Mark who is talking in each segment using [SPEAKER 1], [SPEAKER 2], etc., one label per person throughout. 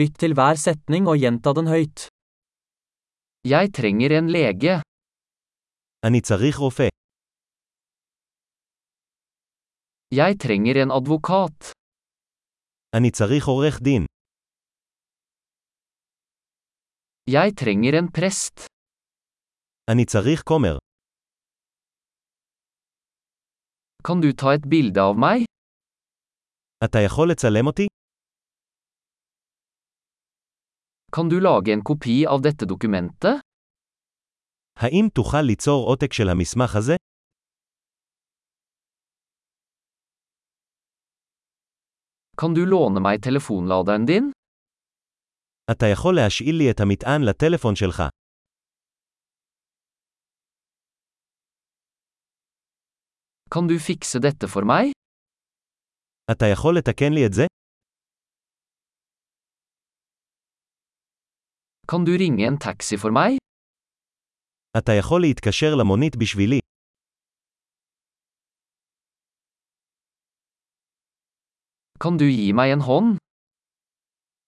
[SPEAKER 1] Lytt til hver setning og gjenta den høyt. Jeg trenger en lege.
[SPEAKER 2] אני צריך רופא.
[SPEAKER 1] Jeg trenger en advokat.
[SPEAKER 2] אני צריך עורך דין.
[SPEAKER 1] Jeg trenger en prest.
[SPEAKER 2] אני צריך כומר.
[SPEAKER 1] Kan du ta et bilde av meg?
[SPEAKER 2] אתה יכול לצלם אותי?
[SPEAKER 1] Kan du lage en kopi av dette dokumentet?
[SPEAKER 2] האם תוכל ליצור עותק של המסמך הזה?
[SPEAKER 1] Kan du låne meg telefonladeren din?
[SPEAKER 2] אתה יכול להשאיל לי את המטען לטלפון שלך.
[SPEAKER 1] Kan du fikse dette for meg?
[SPEAKER 2] אתה יכול לתקן לי את זה?
[SPEAKER 1] Kan du ringe en taxi for meg?
[SPEAKER 2] אתה יכול להתקשר למונית בשבילי.
[SPEAKER 1] Kan du gi meg en hånd?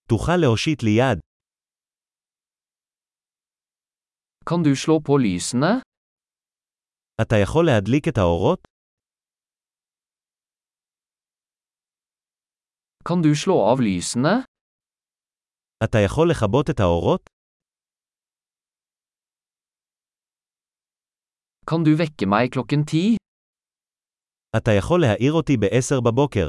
[SPEAKER 2] תוכל להושיט לי יד.
[SPEAKER 1] Kan du slå på lysene?
[SPEAKER 2] אתה יכול להדליק את האורות?
[SPEAKER 1] Kan du slå av lysene?
[SPEAKER 2] אתה יכול לכבות את האורות?
[SPEAKER 1] Kan du vekke meg klokken ti?
[SPEAKER 2] אתה יכול להעיר אותי ב-10 בבוקר.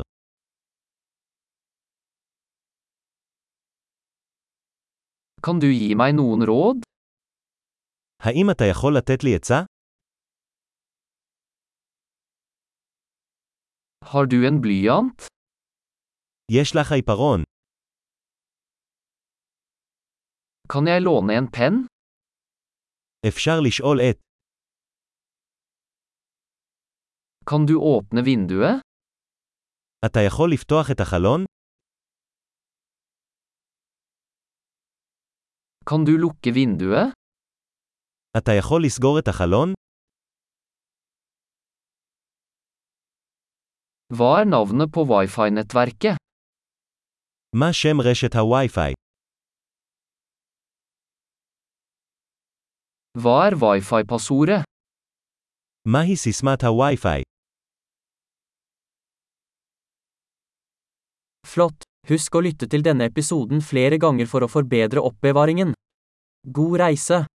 [SPEAKER 1] Kan du gi meg noen råd?
[SPEAKER 2] האם אתה יכול לתת לי עצה?
[SPEAKER 1] Har du en blyant?
[SPEAKER 2] יש לך עיפרון.
[SPEAKER 1] Kan jeg låne en penn?
[SPEAKER 2] אפשר לשאול את.
[SPEAKER 1] Kan du åpne vinduet?
[SPEAKER 2] אתה יכול לפתוח את החלון?
[SPEAKER 1] Kan du lukke vinduet?
[SPEAKER 2] אתה יכול לסגור את החלון?
[SPEAKER 1] Hva er navnet på wifi-nettverket?
[SPEAKER 2] מה שם רשת הווי-פיי?
[SPEAKER 1] Hva er wifi-passordet?
[SPEAKER 2] מהי סיסמת הווי-פיי?
[SPEAKER 1] Flott! Husk å lytte til denne episoden flere ganger for å forbedre oppbevaringen. God reise!